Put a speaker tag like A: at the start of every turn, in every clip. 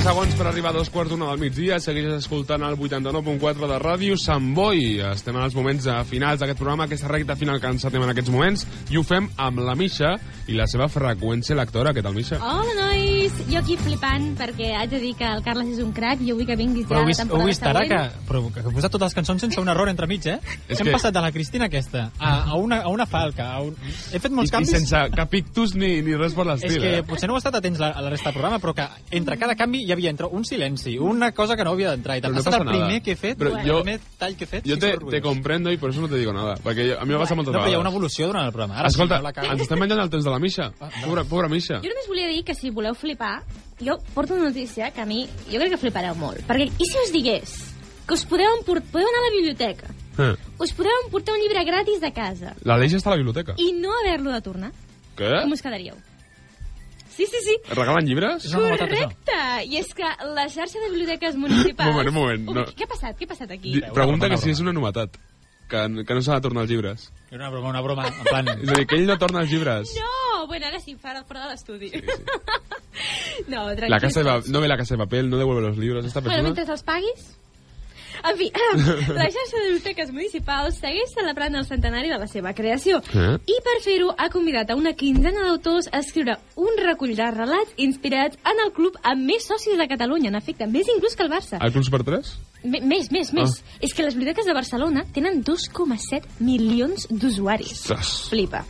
A: segons per arribar a dos quarts d'una del migdia. Segueix escoltant el 89.4 de ràdio Sant Boi. Estem en els moments eh, finals d'aquest programa, aquesta recta final que ens atem en aquests moments, i ho fem amb la Misha i la seva freqüència lectora. Què tal,
B: Ah,
A: Misha?
C: Hola, nois! Jo aquí flipant, perquè haig de dir que el Carles és un crac i jo vull que vingui ja
B: Però heu
C: la
B: vist, heu
C: temporada
B: vist ara que,
C: següent.
B: però que heu posat totes les cançons sense un error entre mig, eh?
A: És
B: Hem
A: que-
B: passat de la Cristina aquesta a, a, una, a una falca. A un... He fet
A: I,
B: molts
A: I
B: canvis.
A: sense cap ictus ni, ni res per
B: És
A: l'estil.
B: que
A: Eh?
B: potser no heu estat atents la, a la resta del programa, però que entre cada canvi hi havia entre un silenci, una cosa que no havia d'entrar, i
A: Però
B: tal.
A: no
B: Ha estat
A: passa
B: el
A: nada.
B: primer que he fet,
A: Però
B: el
A: jo-
B: primer tall que he fet.
A: Jo
B: sí,
A: te,
B: són
A: te
B: ruïnes.
A: comprendo i per això no te digo nada, perquè a mi m'ha passat moltes
B: No, però hi ha una
A: vegades.
B: evolució durant el programa. Ara,
A: Escolta,
B: si no la Ah, cago-
A: ens estem menjant el temps de la Misha. Pobra, pobra Misha.
C: Jo només volia dir que si voleu flipar, jo porto una notícia que a mi, jo crec que flipareu molt. Perquè, i si us digués que us podeu, emport... podeu anar a la biblioteca,
A: Eh.
C: us podeu emportar un llibre gratis de casa
A: L'Aleix està a la biblioteca.
C: i no haver-lo de tornar,
A: Què?
B: Eh?
C: com us quedaríeu? Sí, sí, sí.
A: Regalen llibres?
B: És una novetat, això.
C: Correcte! I és que la xarxa de biblioteques municipals...
A: Moment, un moment,
C: Ui,
A: no.
C: què ha passat? Què ha passat aquí?
A: Di- Pregunta
B: broma,
A: que si
B: broma.
A: és una novetat. Que, que no s'ha de tornar els llibres.
B: Era una broma, una broma. En plan,
A: És a dir, que ell no torna els llibres.
C: No! Bueno, ara sí, fora, fora de l'estudi. no, tranquil.
A: La casa de, pa- no ve la casa de papel, no devuelve los libros. Esta
C: Bueno,
A: persona...
C: mentre els paguis... En fi, la xarxa de biblioteques municipals segueix celebrant el centenari de la seva creació
A: Eh?
C: i per fer-ho ha convidat a una quinzena d'autors a escriure un recull de relats inspirats en el club amb més socis de Catalunya, en efecte, més inclús que el Barça.
A: Al Club Super 3?
C: M més, més, més.
A: Ah.
C: És que les biblioteques de Barcelona tenen 2,7 milions d'usuaris.
A: Ostres.
C: Flipa.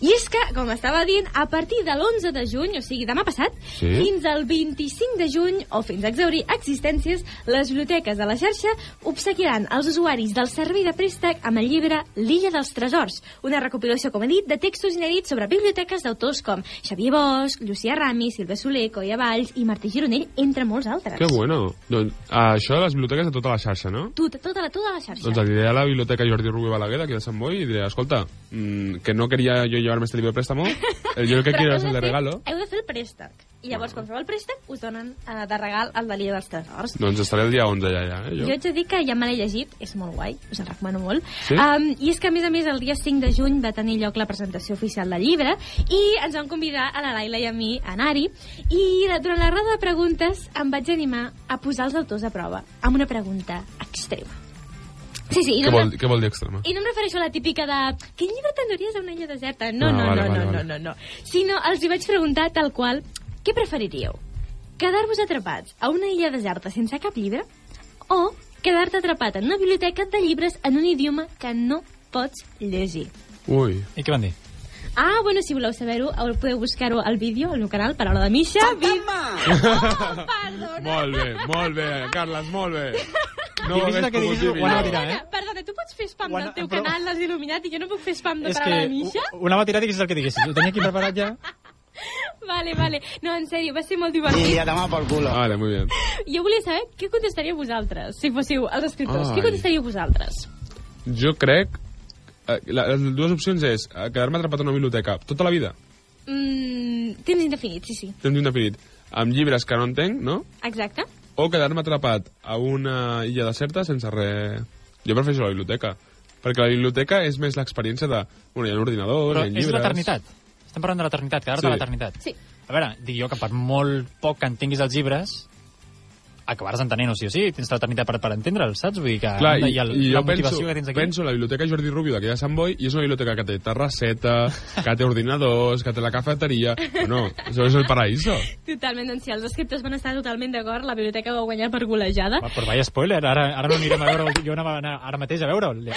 C: I és que, com estava dient, a partir de l'11 de juny, o sigui, demà passat,
A: Sí.
C: fins al 25 de juny, o fins a exaurir existències, les biblioteques de la xarxa obsequiaran als usuaris del servei de préstec amb el llibre L'illa dels tresors, una recopilació, com he dit, de textos inèdits sobre biblioteques d'autors com Xavier Bosch, Llucià Rami, Silvia Soler, Coia Valls i Martí Gironell, entre molts altres.
A: Que bueno. Doncs, això de les biblioteques de tota la xarxa, no?
C: Tota, tota, la, tota la xarxa.
A: Doncs li diré a la biblioteca Jordi Rubio Balaguer d'aquí de Sant Boi i diré, escolta, mm, que no quería yo llevarme este libro de préstamo, eh, yo el que
C: Però
A: quiero
C: heu
A: es el de
C: fer-
A: regalo.
C: Heu de fer el préstec. I llavors, quan feu el préstec, us donen eh, de regal el de l'Illa dels Tresors.
A: Doncs estaré el dia 11 allà, ja, eh,
C: Jo
A: jo.
C: haig de dir que ja me l'he llegit, és molt guai, us el recomano molt.
A: Sí?
C: Um, I és que, a més a més, el dia 5 de juny va tenir lloc la presentació oficial del llibre i ens van convidar a la Laila i a mi a anar-hi. I la- durant la roda de preguntes em vaig animar a posar els autors a prova amb una pregunta extrema. Sí, sí, i
A: Què
C: no, em
A: vol,
C: re-
A: què vol dir extrema?
C: i no em refereixo a la típica de quin llibre t'enduries a una illa deserta? No,
A: Ah,
C: no,
A: vale,
C: no,
A: vale,
C: no,
A: vale.
C: no, no, no. Sinó els hi vaig preguntar tal qual, què preferiríeu? Quedar-vos atrapats a una illa deserta sense cap llibre o quedar-te atrapat en una biblioteca de llibres en un idioma que no pots llegir?
A: Ui.
B: I què van dir?
C: Ah, bueno, si voleu saber-ho, el- podeu buscar-ho al vídeo, al meu canal, Paraula de Misha. Fantasma! Oh, perdona.
A: Molt bé, molt bé, Carles, molt bé. No ho
B: Diguis
A: hagués
B: el que
A: pogut
B: diguis,
A: dir
B: ho anava a
A: millor.
B: tirar.
C: Perdona,
B: eh?
C: perdona, tu pots fer spam
B: Bueno,
C: del teu
B: però-
C: canal dels il·luminats i jo no puc fer spam de
B: És
C: Paraula
B: que
C: de Misha?
B: ho- una va tirar i diguis el que diguessis. Ho tenia aquí preparat ja.
C: Vale, vale. No, en sèrio, va ser molt divertit.
D: Y a tomar por culo.
A: Vale, muy bien.
C: Jo volia saber què contestaríeu vosaltres, si fóssiu els escriptors.
A: Ai.
C: Ai. Què contestaríeu vosaltres?
A: Jo crec... eh, la- Les dues opcions és eh, quedar-me atrapat a una biblioteca tota la vida,
C: Mm, tens indefinit, sí, sí.
A: temps indefinit, amb llibres que no entenc, no?
C: Exacte.
A: O quedar-me atrapat a una illa deserta sense res... Jo prefereixo la biblioteca, perquè la biblioteca és més l'experiència de... Bueno, hi ha ordinadors,
B: Però
A: hi ha
B: és
A: llibres...
B: l'eternitat. Estem parlant de l'eternitat,
A: Sí.
B: quedar-te a l'eternitat.
C: Sí.
B: A veure, dic jo que per molt poc que entenguis els llibres, acabaràs entenent-ho sí o sí, tens l'eternitat per, per entendre'l, saps? Vull dir que
A: Clar, i,
B: i, el,
A: i jo
B: la motivació
A: penso,
B: que tens aquí...
A: penso en la biblioteca Jordi Rubio d'aquí de Sant Boi i és una biblioteca que té terrasseta, que té ordinadors, que té la cafeteria... No, això és el paraíso.
C: Totalment, doncs si els escriptors van estar totalment d'acord, la biblioteca va guanyar per golejada.
B: Va, però vaya spoiler, ara, ara no anirem a veure jo anava a anar ara mateix a veure'l.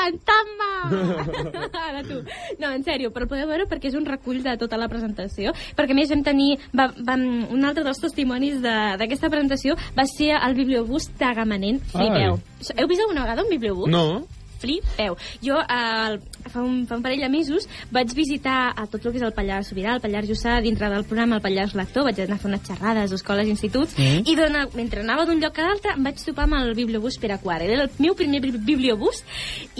C: Fantasma! Ara tu. No, en sèrio, però el podeu veure perquè és un recull de tota la presentació, perquè a més vam tenir va, vam, un altre dels testimonis de- d'aquesta presentació va ser el bibliobús Tagamanent. Flipeu. Heu vist alguna vegada un bibliobús?
A: No,
C: flipeu. Jo eh, fa, un, fa un parell de mesos vaig visitar a tot el que és el Pallars Sobirà, el Pallars Jussà, dintre del programa el Pallars Lector, vaig anar a fer unes xerrades a escoles i instituts, mm. i dona, mentre anava d'un lloc a l'altre em vaig topar amb el bibliobús Pere Quart. Era el meu primer bi- bibliobús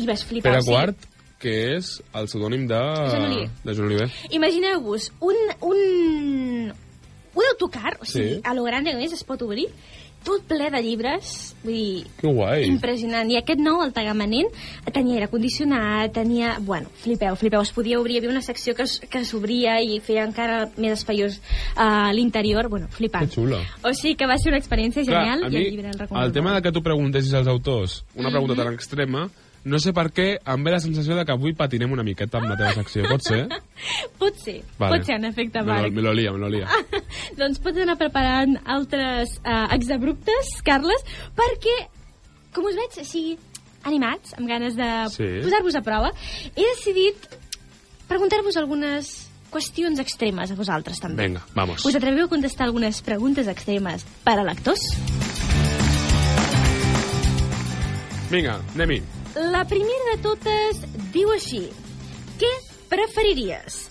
C: i vaig flipar.
A: Pere
C: o sigui,
A: Quart, que és el pseudònim de...
C: Joan Oliver.
A: De Joan Oliver.
C: Imagineu-vos un, un, un autocar, o sigui,
A: Sí.
C: sí. a lo grande que és, es pot obrir, tot ple de llibres, vull dir,
A: Que guai.
C: impressionant. I aquest nou, el Tagamanent, tenia aire condicionat, tenia... Bueno, flipeu, flipeu, es podia obrir, hi havia una secció que s- que s'obria i feia encara més espaiós a l'interior, bueno, flipant.
A: Que xulo.
C: O sigui que va ser una experiència genial
A: a mi,
C: i el llibre Mhm. el recomano.
A: el tema de que tu preguntessis als autors una pregunta tan extrema, no sé per què em ve la sensació de que avui patinem una miqueta amb la teva secció. Pot ser?
C: Pot ser,
A: Vale.
C: pot ser en efecte,
A: Me lo-
C: Marc.
A: Me lo lia, me lo lia.
C: doncs pots anar preparant altres eh, exabruptes, Carles, perquè, com us veig així animats, amb ganes de
A: Sí.
C: posar-vos a prova, he decidit preguntar-vos algunes qüestions extremes a vosaltres també.
A: Vinga, vamos.
C: Us atreviu a contestar algunes preguntes extremes per a lectors?
A: Vinga, anem-hi.
C: La primera de totes diu així. Què preferiries?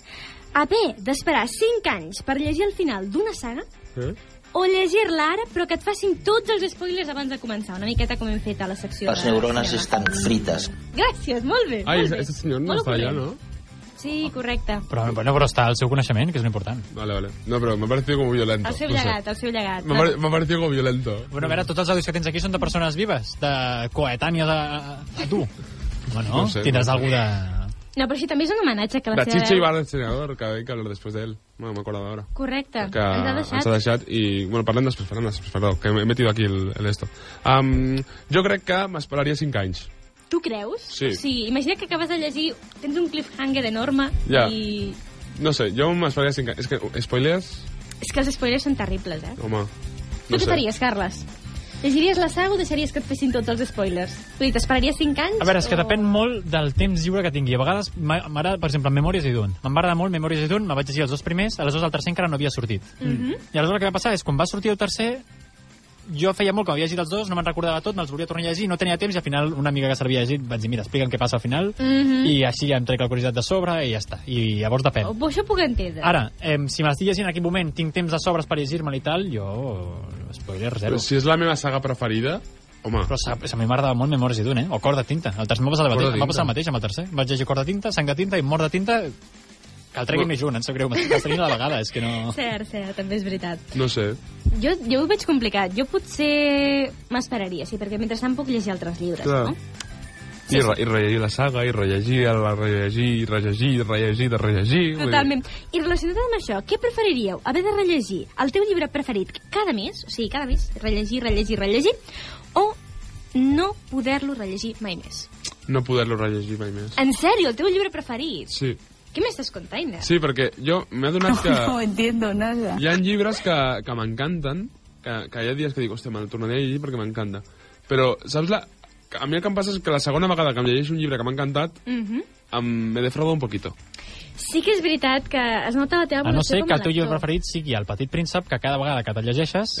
C: Haver d'esperar 5 anys per llegir el final d'una saga
A: Eh?
C: o llegir-la ara però que et facin tots els spoilers abans de començar, una miqueta com hem fet a la secció.
D: Les
C: de
D: neurones
C: cinema.
D: estan frites.
C: Gràcies, molt bé.
A: Ai,
C: molt bé.
A: este senyor no
C: Molt
A: està allà,
C: ocorrent.
A: no?
C: Sí, correcte.
B: Però, bueno, però està el seu coneixement, que és l'important.
A: Vale, vale. No, però m'ha parecido como violento.
C: El seu
A: no sé.
C: llegat, el seu llegat.
A: M'ha pare- m'ha parecido como violento.
B: Bueno, a veure, tots els àudios que tens aquí són de persones vives, de coetànies a, a, a tu. Bueno,
A: No
B: no
A: sé,
B: sé, tindràs
A: no sé.
B: algú de...
C: No, però així també és un homenatge que la
A: La
C: seva...
A: Chicha Ibarra, el senador, que hay que hablar después de él. Bueno, me acuerdo ahora.
C: Correcte,
A: que
C: ens ha deixat.
A: ens ha deixat i, bueno, parlem després, parlem després, perdó, que he metido aquí el, el esto. Um, jo crec que m'esperaria 5 anys.
C: Tu creus?
A: Sí.
C: sí. Imagina que acabes de llegir, tens un cliffhanger enorme
A: Ja.
C: i...
A: No sé, jo m'esperaria 5 anys. És que, spoilers?
C: És que els spoilers són terribles, eh?
A: Home, no
C: tu què
A: sé.
C: faries, Carles? Llegiries la saga o deixaries que et fessin tots els spoilers? Vull dir, t'esperaries 5 anys?
B: A veure, és que
C: o-
B: depèn molt del temps lliure que tingui. A vegades m'a- m'agrada, per exemple, Memòries i Dune. Em va agradar molt Memòries i Dune, me vaig llegir els dos primers, aleshores el tercer encara no havia sortit. Mm
C: Mhm.
B: -hmm. I aleshores el que va passar és, quan va sortir el tercer, jo feia molt que m'havia llegit els dos, no me'n recordava tot, me'ls volia tornar a llegir, no tenia temps, i al final una amiga que se l'havia llegit vaig dir, mira, explica'm què passa al final,
C: Mhm.
B: i així ja em trec la curiositat de sobre i ja està. I llavors depèn.
C: Oh, això ho puc entendre.
B: Eh. Ara, eh, si m'estic llegint en aquell moment, tinc temps de sobres per llegir-me'l i tal, jo... Spoiler, zero.
A: Però
B: Però, sí.
A: si és la meva saga preferida, home,
B: Però s'ha- a mi m'agradava molt Memòries i Dune, eh? O Cor de tinta. El tercer m'ha passat, el
A: Cor de
B: mateix, em va
A: tinta.
B: passar el mateix amb el tercer. Vaig llegir Cor de tinta, Sang de tinta i Mort de tinta... Que el tregui
A: Bueno.
B: més junt, em sap greu. M'estic estrenint a la vegada, és que no...
C: Cert, cert, també és veritat.
A: no sé.
C: Jo, jo ho veig complicat. Jo potser m'esperaria, sí, perquè mentrestant puc llegir altres llibres,
A: Clar.
C: no?
A: I, re, I rellegir la saga, i rellegir, la rellegir, i rellegir, i rellegir, de rellegir... vull dir-
C: Totalment. I relacionat amb això, què preferiríeu? Haver de rellegir el teu llibre preferit cada mes, o sigui, cada mes, rellegir, rellegir, rellegir, o no poder-lo rellegir mai més?
A: No poder-lo rellegir mai més.
C: En sèrio, el teu llibre preferit?
A: Sí,
C: Què eh? més t'escontaina?
A: sí perquè jo m'he adonat que...
E: entiendo nada.
A: Hi ha llibres que, que m'encanten, que, que hi ha dies que dic, hòstia, me'l tornaré a llegir perquè m'encanta. Però, saps la... que A mi el que em passa és que la segona vegada que em llegeixo un llibre que m'ha encantat,
C: Mhm.
A: em, me defrauda un poquito.
C: Sí que és veritat que es nota la teva
B: A Ah, no
C: evolució
B: ser
C: com
B: que
C: a
B: el teu llibre
C: lector.
B: preferit sigui El petit príncep, que cada vegada que te'l llegeixes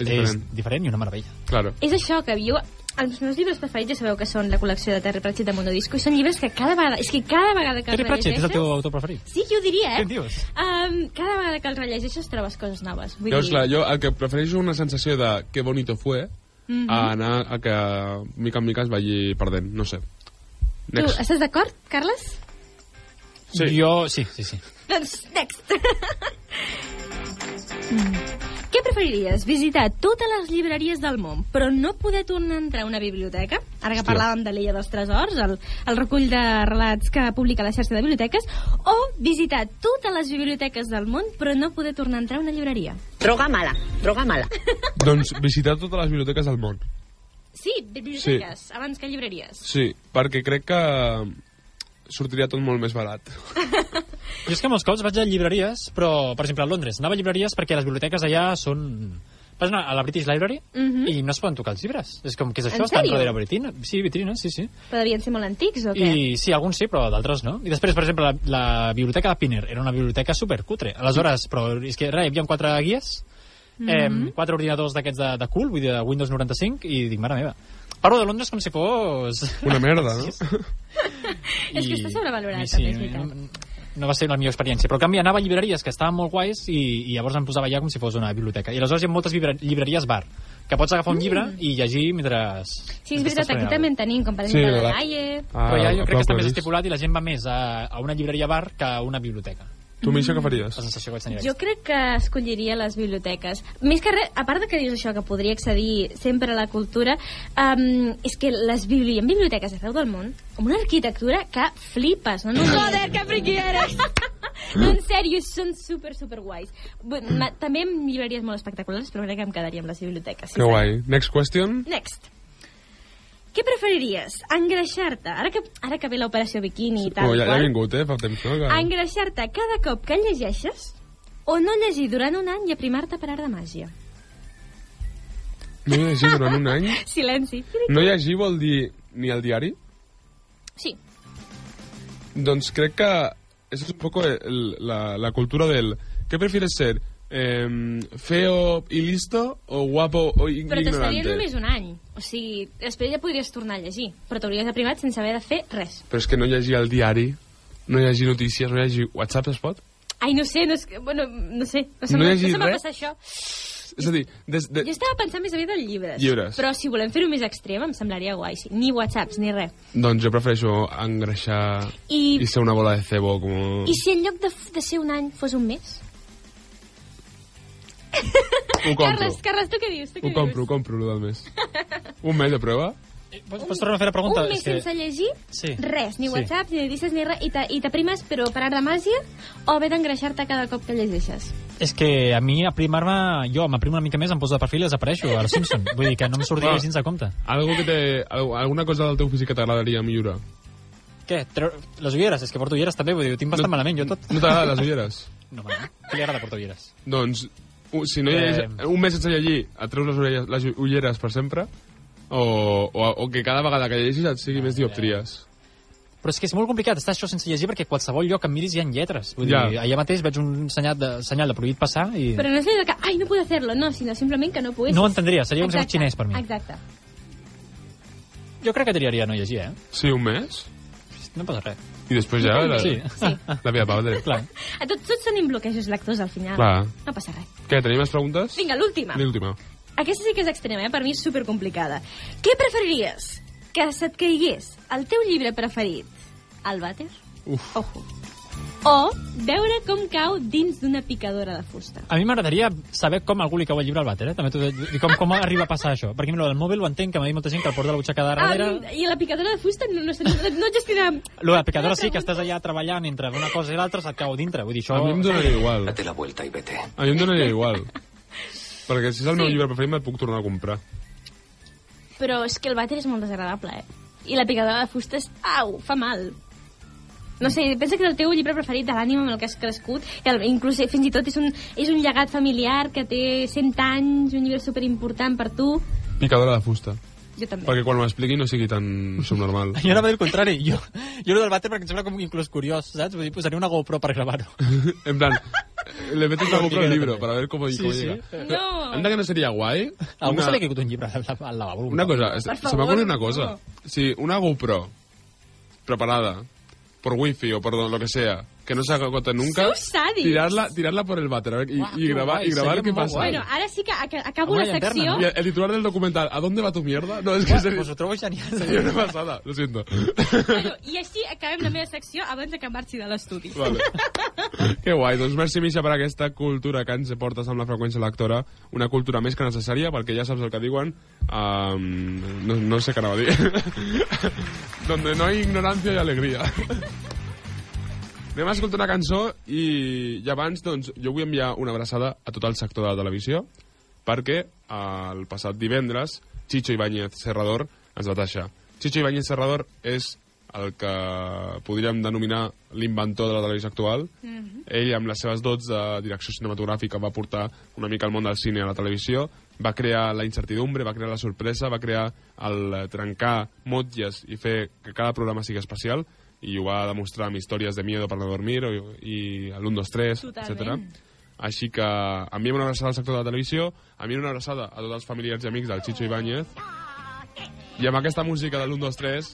A: És
B: és
A: diferent.
B: diferent, és diferent i una meravella.
A: Claro.
C: És això que jo... Els meus llibres preferits ja sabeu que són la col·lecció de Terry Pratchett de Monodisco i són llibres que cada vegada... És que cada vegada que
B: Terry
C: els
B: Pratchett
C: rellegeixes...
B: és el teu autor preferit.
C: Sí, jo ho diria, eh?
B: Què en dius?
C: Um, cada vegada que els rellegeixes trobes coses noves. Vull
A: Llavors,
C: dir...
A: clar, jo el que prefereixo és una sensació de que bonito fue, mm
C: Mhm.
A: -hmm. a anar a que mica en mica es vagi perdent, no sé.
C: Tu,
A: Next.
C: estàs d'acord, Carles?
A: Sí.
B: Jo, sí, sí, sí.
C: Doncs, next. Mm. Què preferiries? Visitar totes les llibreries del món, però no poder tornar a entrar a una biblioteca? Ara
A: Hòstia.
C: que parlàvem de l'Illa dels Tresors, el, el recull de relats que publica la xarxa de biblioteques, o visitar totes les biblioteques del món, però no poder tornar a entrar a una llibreria?
E: Droga mala, droga mala.
A: doncs visitar totes les biblioteques del món.
C: Sí, biblioteques, sí. abans que llibreries.
A: Sí, perquè crec que sortiria tot molt més barat.
B: Jo és que molts cops vaig a llibreries, però, per exemple, a Londres, anava a llibreries perquè les biblioteques allà són... Vas anar a la British Library
C: Mhm.
B: i no es poden tocar els llibres. És com, que és
C: En
B: això? Estan
C: sèrio?
B: darrere vitrina? Sí, vitrina, sí, sí.
C: Però devien ser molt antics, o què?
B: I sí, alguns sí, però d'altres no. I després, per exemple, la, la biblioteca de Piner era una biblioteca supercutre. Aleshores, però és que res, hi havia quatre guies, mm
C: Mhm.
B: -hmm. eh, quatre ordinadors d'aquests de, de cool, vull dir, de Windows 95, i dic, mare meva, parlo de Londres com si fos...
A: Una merda, no?
C: És que està sobrevalorat,
B: i
C: també, és veritat.
B: No, no va ser la millor experiència, però en canvi anava a llibreries que estaven molt guais i, i llavors em posava allà com si fos una biblioteca. I aleshores hi ha moltes llibre- llibreries bar, que pots agafar un llibre i llegir mentre...
C: Mm. Sí, és veritat, aquí també en tenim, com per
A: Sí,
C: exemple sí, la
A: la- Ah,
C: Laie...
B: Però ja jo
A: a
B: crec que està
A: Pròpolis.
B: més estipulat i la gent va més a, a una llibreria bar que a una biblioteca.
A: Tu, Misha, què faries?
B: La sensació que vaig tenir.
C: Jo crec que escolliria les biblioteques. Més que res, a part de que dius això, que podria accedir sempre a la cultura, um, és que les bibli... hi ha biblioteques arreu del món amb una arquitectura que flipes. No? Joder, que friqui eres! no, en sèrio, són super, super guais. Bu- ma- També amb llibreries molt espectaculars, però crec que em quedaria amb les biblioteques.
A: Que guai. Next question.
C: Next. Què preferiries? Engreixar-te, ara que, ara que ve l'operació biquini i tal,
A: Oh, ja, ja ha
C: qual,
A: vingut, eh? Fa temps, no? Que...
C: engreixar-te cada cop que llegeixes o no llegir durant un any i aprimar-te per art de màgia.
A: No llegir durant un any.
C: Silenci.
A: No llegir vol dir ni el diari?
C: Sí.
A: Doncs crec que és un poco el, la, la cultura del... ¿Qué prefieres ser? Eh, ¿Feo y listo o guapo o ig-
C: Però t'estaries només
A: ignorante?
C: un any. O sigui, després ja podries tornar a llegir, però t'hauries aprimat sense haver de fer res.
A: Però és que no llegir el diari, no llegir notícies, no llegir WhatsApp es pot?
C: Ai, no sé, no, és, que- bueno, no sé, no se
A: No
C: m'ha- no
A: llegis
C: se m'ha
A: res?
C: passat això.
A: És a dir, des de...
C: Jo estava pensant més aviat en llibres.
A: Llibres.
C: Però si volem fer-ho més extrem, em semblaria guai. sí. Ni whatsapps, ni res.
A: Doncs jo prefereixo engreixar
C: I-
A: i, ser una bola de cebo com...
C: I si en lloc de, f- de ser un any fos un mes?
A: Ho compro.
C: Carles, Carles, tu què dius? Tu què
A: Ho compro, ho compro, lo del mes. Un mes de prova?
B: Eh, Pots, pots tornar a fer la pregunta?
C: Un mes
B: És que-
C: sense llegir,
B: Sí.
C: res, ni
B: Sí.
C: whatsapps, ni notícies, ni res, i t'a- i t'aprimes, però per art de màgia, o haver d'engreixar-te cada cop que llegeixes.
B: És que a mi aprimar-me... Jo m'aprimo una mica més, em poso de perfil i desapareixo a los Simpson. Vull dir que no em sortia
A: Va.
B: gens de compte.
A: Algo que te, al- alguna cosa del teu físic que t'agradaria millorar?
B: Què? Treu... Les ulleres? És que porto ulleres també, vull dir, ho tinc bastant malament, jo tot.
A: No t'agraden les ulleres?
B: No, m'agrada. Què li agrada portar ulleres?
A: Doncs, u- si no hi ha,
B: Eh.
A: un mes sense llegir et treus les, orelles, les ulleres per sempre o, o, o que cada vegada que llegeixis et sigui més dioptries.
B: Però és que és molt complicat estar això sense llegir perquè a qualsevol lloc que em miris hi ha lletres. Vull dir,
A: Ja.
B: allà mateix veig un senyal de, senyal de prohibit passar i...
C: Però no és allò de que, ai, no puc fer-lo, no, sinó simplement que no poguessis.
B: No ho entendria, seria un
C: Exacte,
B: segon xinès per mi.
C: Exacte.
B: Jo crec que triaria no llegir, eh?
A: Sí, un mes?
B: No passa res.
A: I després ja la,
B: Sí.
C: Sí.
A: la via padre.
B: Clar.
C: A tots, tots tenim bloquejos lectors al final.
A: Clar.
C: No passa res.
A: Què, tenim més preguntes?
C: Vinga, l'última.
A: L'última.
C: Aquesta sí que és extrema, eh? per mi és supercomplicada. Què preferiries? Que se't caigués el teu llibre preferit al vàter?
A: Uf.
C: Ojo. O veure com cau dins d'una picadora de fusta.
B: A mi m'agradaria saber com algú li cau el llibre al vàter, eh? També t'ho he de dir, com, com arriba a passar això. Perquè, mira, el mòbil ho entenc, que m'ha dit molta gent que el porta a la butxaca de darrere...
C: Ah, I la picadora de fusta no, no, no, no et gestionarà...
B: Lo de picadora sí, que estàs allà treballant entre una cosa i l'altra, se't cau a dintre. Vull dir, això...
A: A mi em donaria igual.
D: Date la vuelta y vete.
A: A mi em donaria igual. Perquè si és el meu llibre preferit me'l puc tornar a comprar.
C: Però és que el vàter és molt desagradable, eh? I la picadora de fusta és... Au, fa mal. No sé, pensa que és el teu llibre preferit de l'ànima amb el que has crescut, i el, inclús eh, fins i tot és un, és un llegat familiar que té 100 anys, un llibre superimportant per tu.
A: Picadora de fusta.
C: Jo també.
A: Perquè quan m'expliqui no sigui tan subnormal.
B: Jo anava a dir el contrari. Jo, jo lo del vàter perquè em sembla com inclús curiós, saps? Vull dir, posaré una GoPro per gravar-ho.
A: en plan, le metes la boca al libro para ver cómo,
B: Sí,
A: cómo
B: sí.
A: llega.
C: No.
A: Anda que no seria guai
B: A Algú se li ha caigut un llibre al, al lavabo.
A: Una cosa, se- se
C: favor,
A: m'acorda una cosa.
C: no.
A: Si una GoPro preparada por wifi o por lo que sea, que no se agote nunca,
C: Sou sàdics.
A: tirarla, tirarla por el váter a ver, y,
B: Guau,
A: y grabar, y
B: guai,
A: grabar
B: seria
A: qué
B: molt
A: pasa.
B: guai.
C: Bueno, ara sí que ac- acabo
B: Una
C: la
B: llanterna,
C: secció...
B: no?
A: Y el, el titular del documental, ¿a dónde va tu mierda? No, es que
B: Pues,
A: sería,
B: pues ho trobo genial.
A: sería una pasada, lo siento.
C: Bueno, I així acabem la meva secció abans de que marxi de l'estudi.
A: Vale. que guai, doncs merci Misha per aquesta cultura que ens portes amb la freqüència lectora, una cultura més que necessària, perquè ja saps el que diuen, um, no, no sé què anava a dir, donde no hay ignorancia y alegría. Anem a escoltar una cançó i, i abans doncs, jo vull enviar una abraçada a tot el sector de la televisió perquè eh, el passat divendres Chicho Ibáñez Serrador ens va deixar. Chicho Ibáñez Serrador és el que podríem denominar l'inventor de la televisió actual. Ell, amb les seves dots de direcció cinematogràfica, va portar una mica el món del cine a la televisió, va crear la incertidumbre, va crear la sorpresa, va crear el eh, trencar motlles i fer que cada programa sigui especial, i ho va demostrar amb històries de Miedo para no dormir o, i l'1, 2, 3, etc.
C: Totalment.
A: Així que enviem una abraçada al sector de la televisió, enviem una abraçada a tots els familiars i amics del Chicho Ibáñez i amb aquesta música de l'1, 2, 3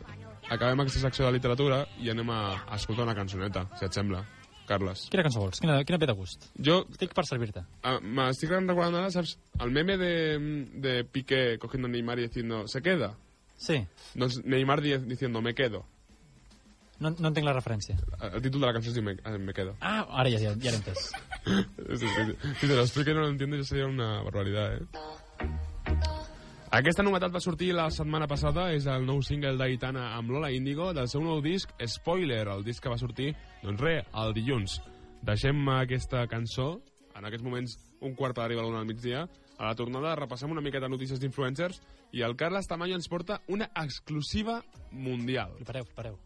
A: acabem aquesta secció de literatura i anem a escoltar una cançoneta, si et sembla, Carles.
B: Quina cançó vols? Quina, quina ve de gust?
A: Jo
B: Estic per servir-te.
A: ah, m'estic recordant ara, saps, el meme de, de Piqué cogiendo a Neymar y diciendo, ¿se queda?
B: Sí.
A: Doncs Neymar di- diciendo, me quedo.
B: No, no entenc la referència.
A: El títol de la cançó es diu Me, eh, me quedo.
B: Ah, ara ja, ja, ja l'he entès.
A: Sí, sí, sí. Si te lo explico y no lo entiendes, ya sería una barbaridad, eh? Aquesta novetat va sortir la setmana passada, és el nou single d'Aitana amb Lola Índigo del seu nou disc Spoiler, el disc que va sortir, doncs res, el dilluns. Deixem aquesta cançó, en aquests moments un quart per arribar a l'una del migdia, a la tornada repassem una mica de notícies d'influencers i el Carles Tamayo ens porta una exclusiva mundial.
B: Prepareu, prepareu.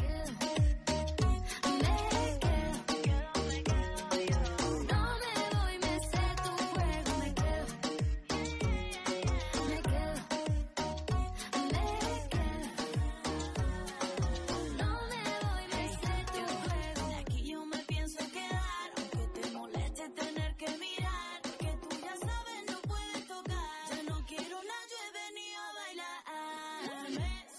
A: Fliparem.
D: Aquí yo me pienso quedar, aunque te moleste tener que mirar, porque tú ya sabes no puedes tocar. Ya no quiero la lluvia ni a bailar. Me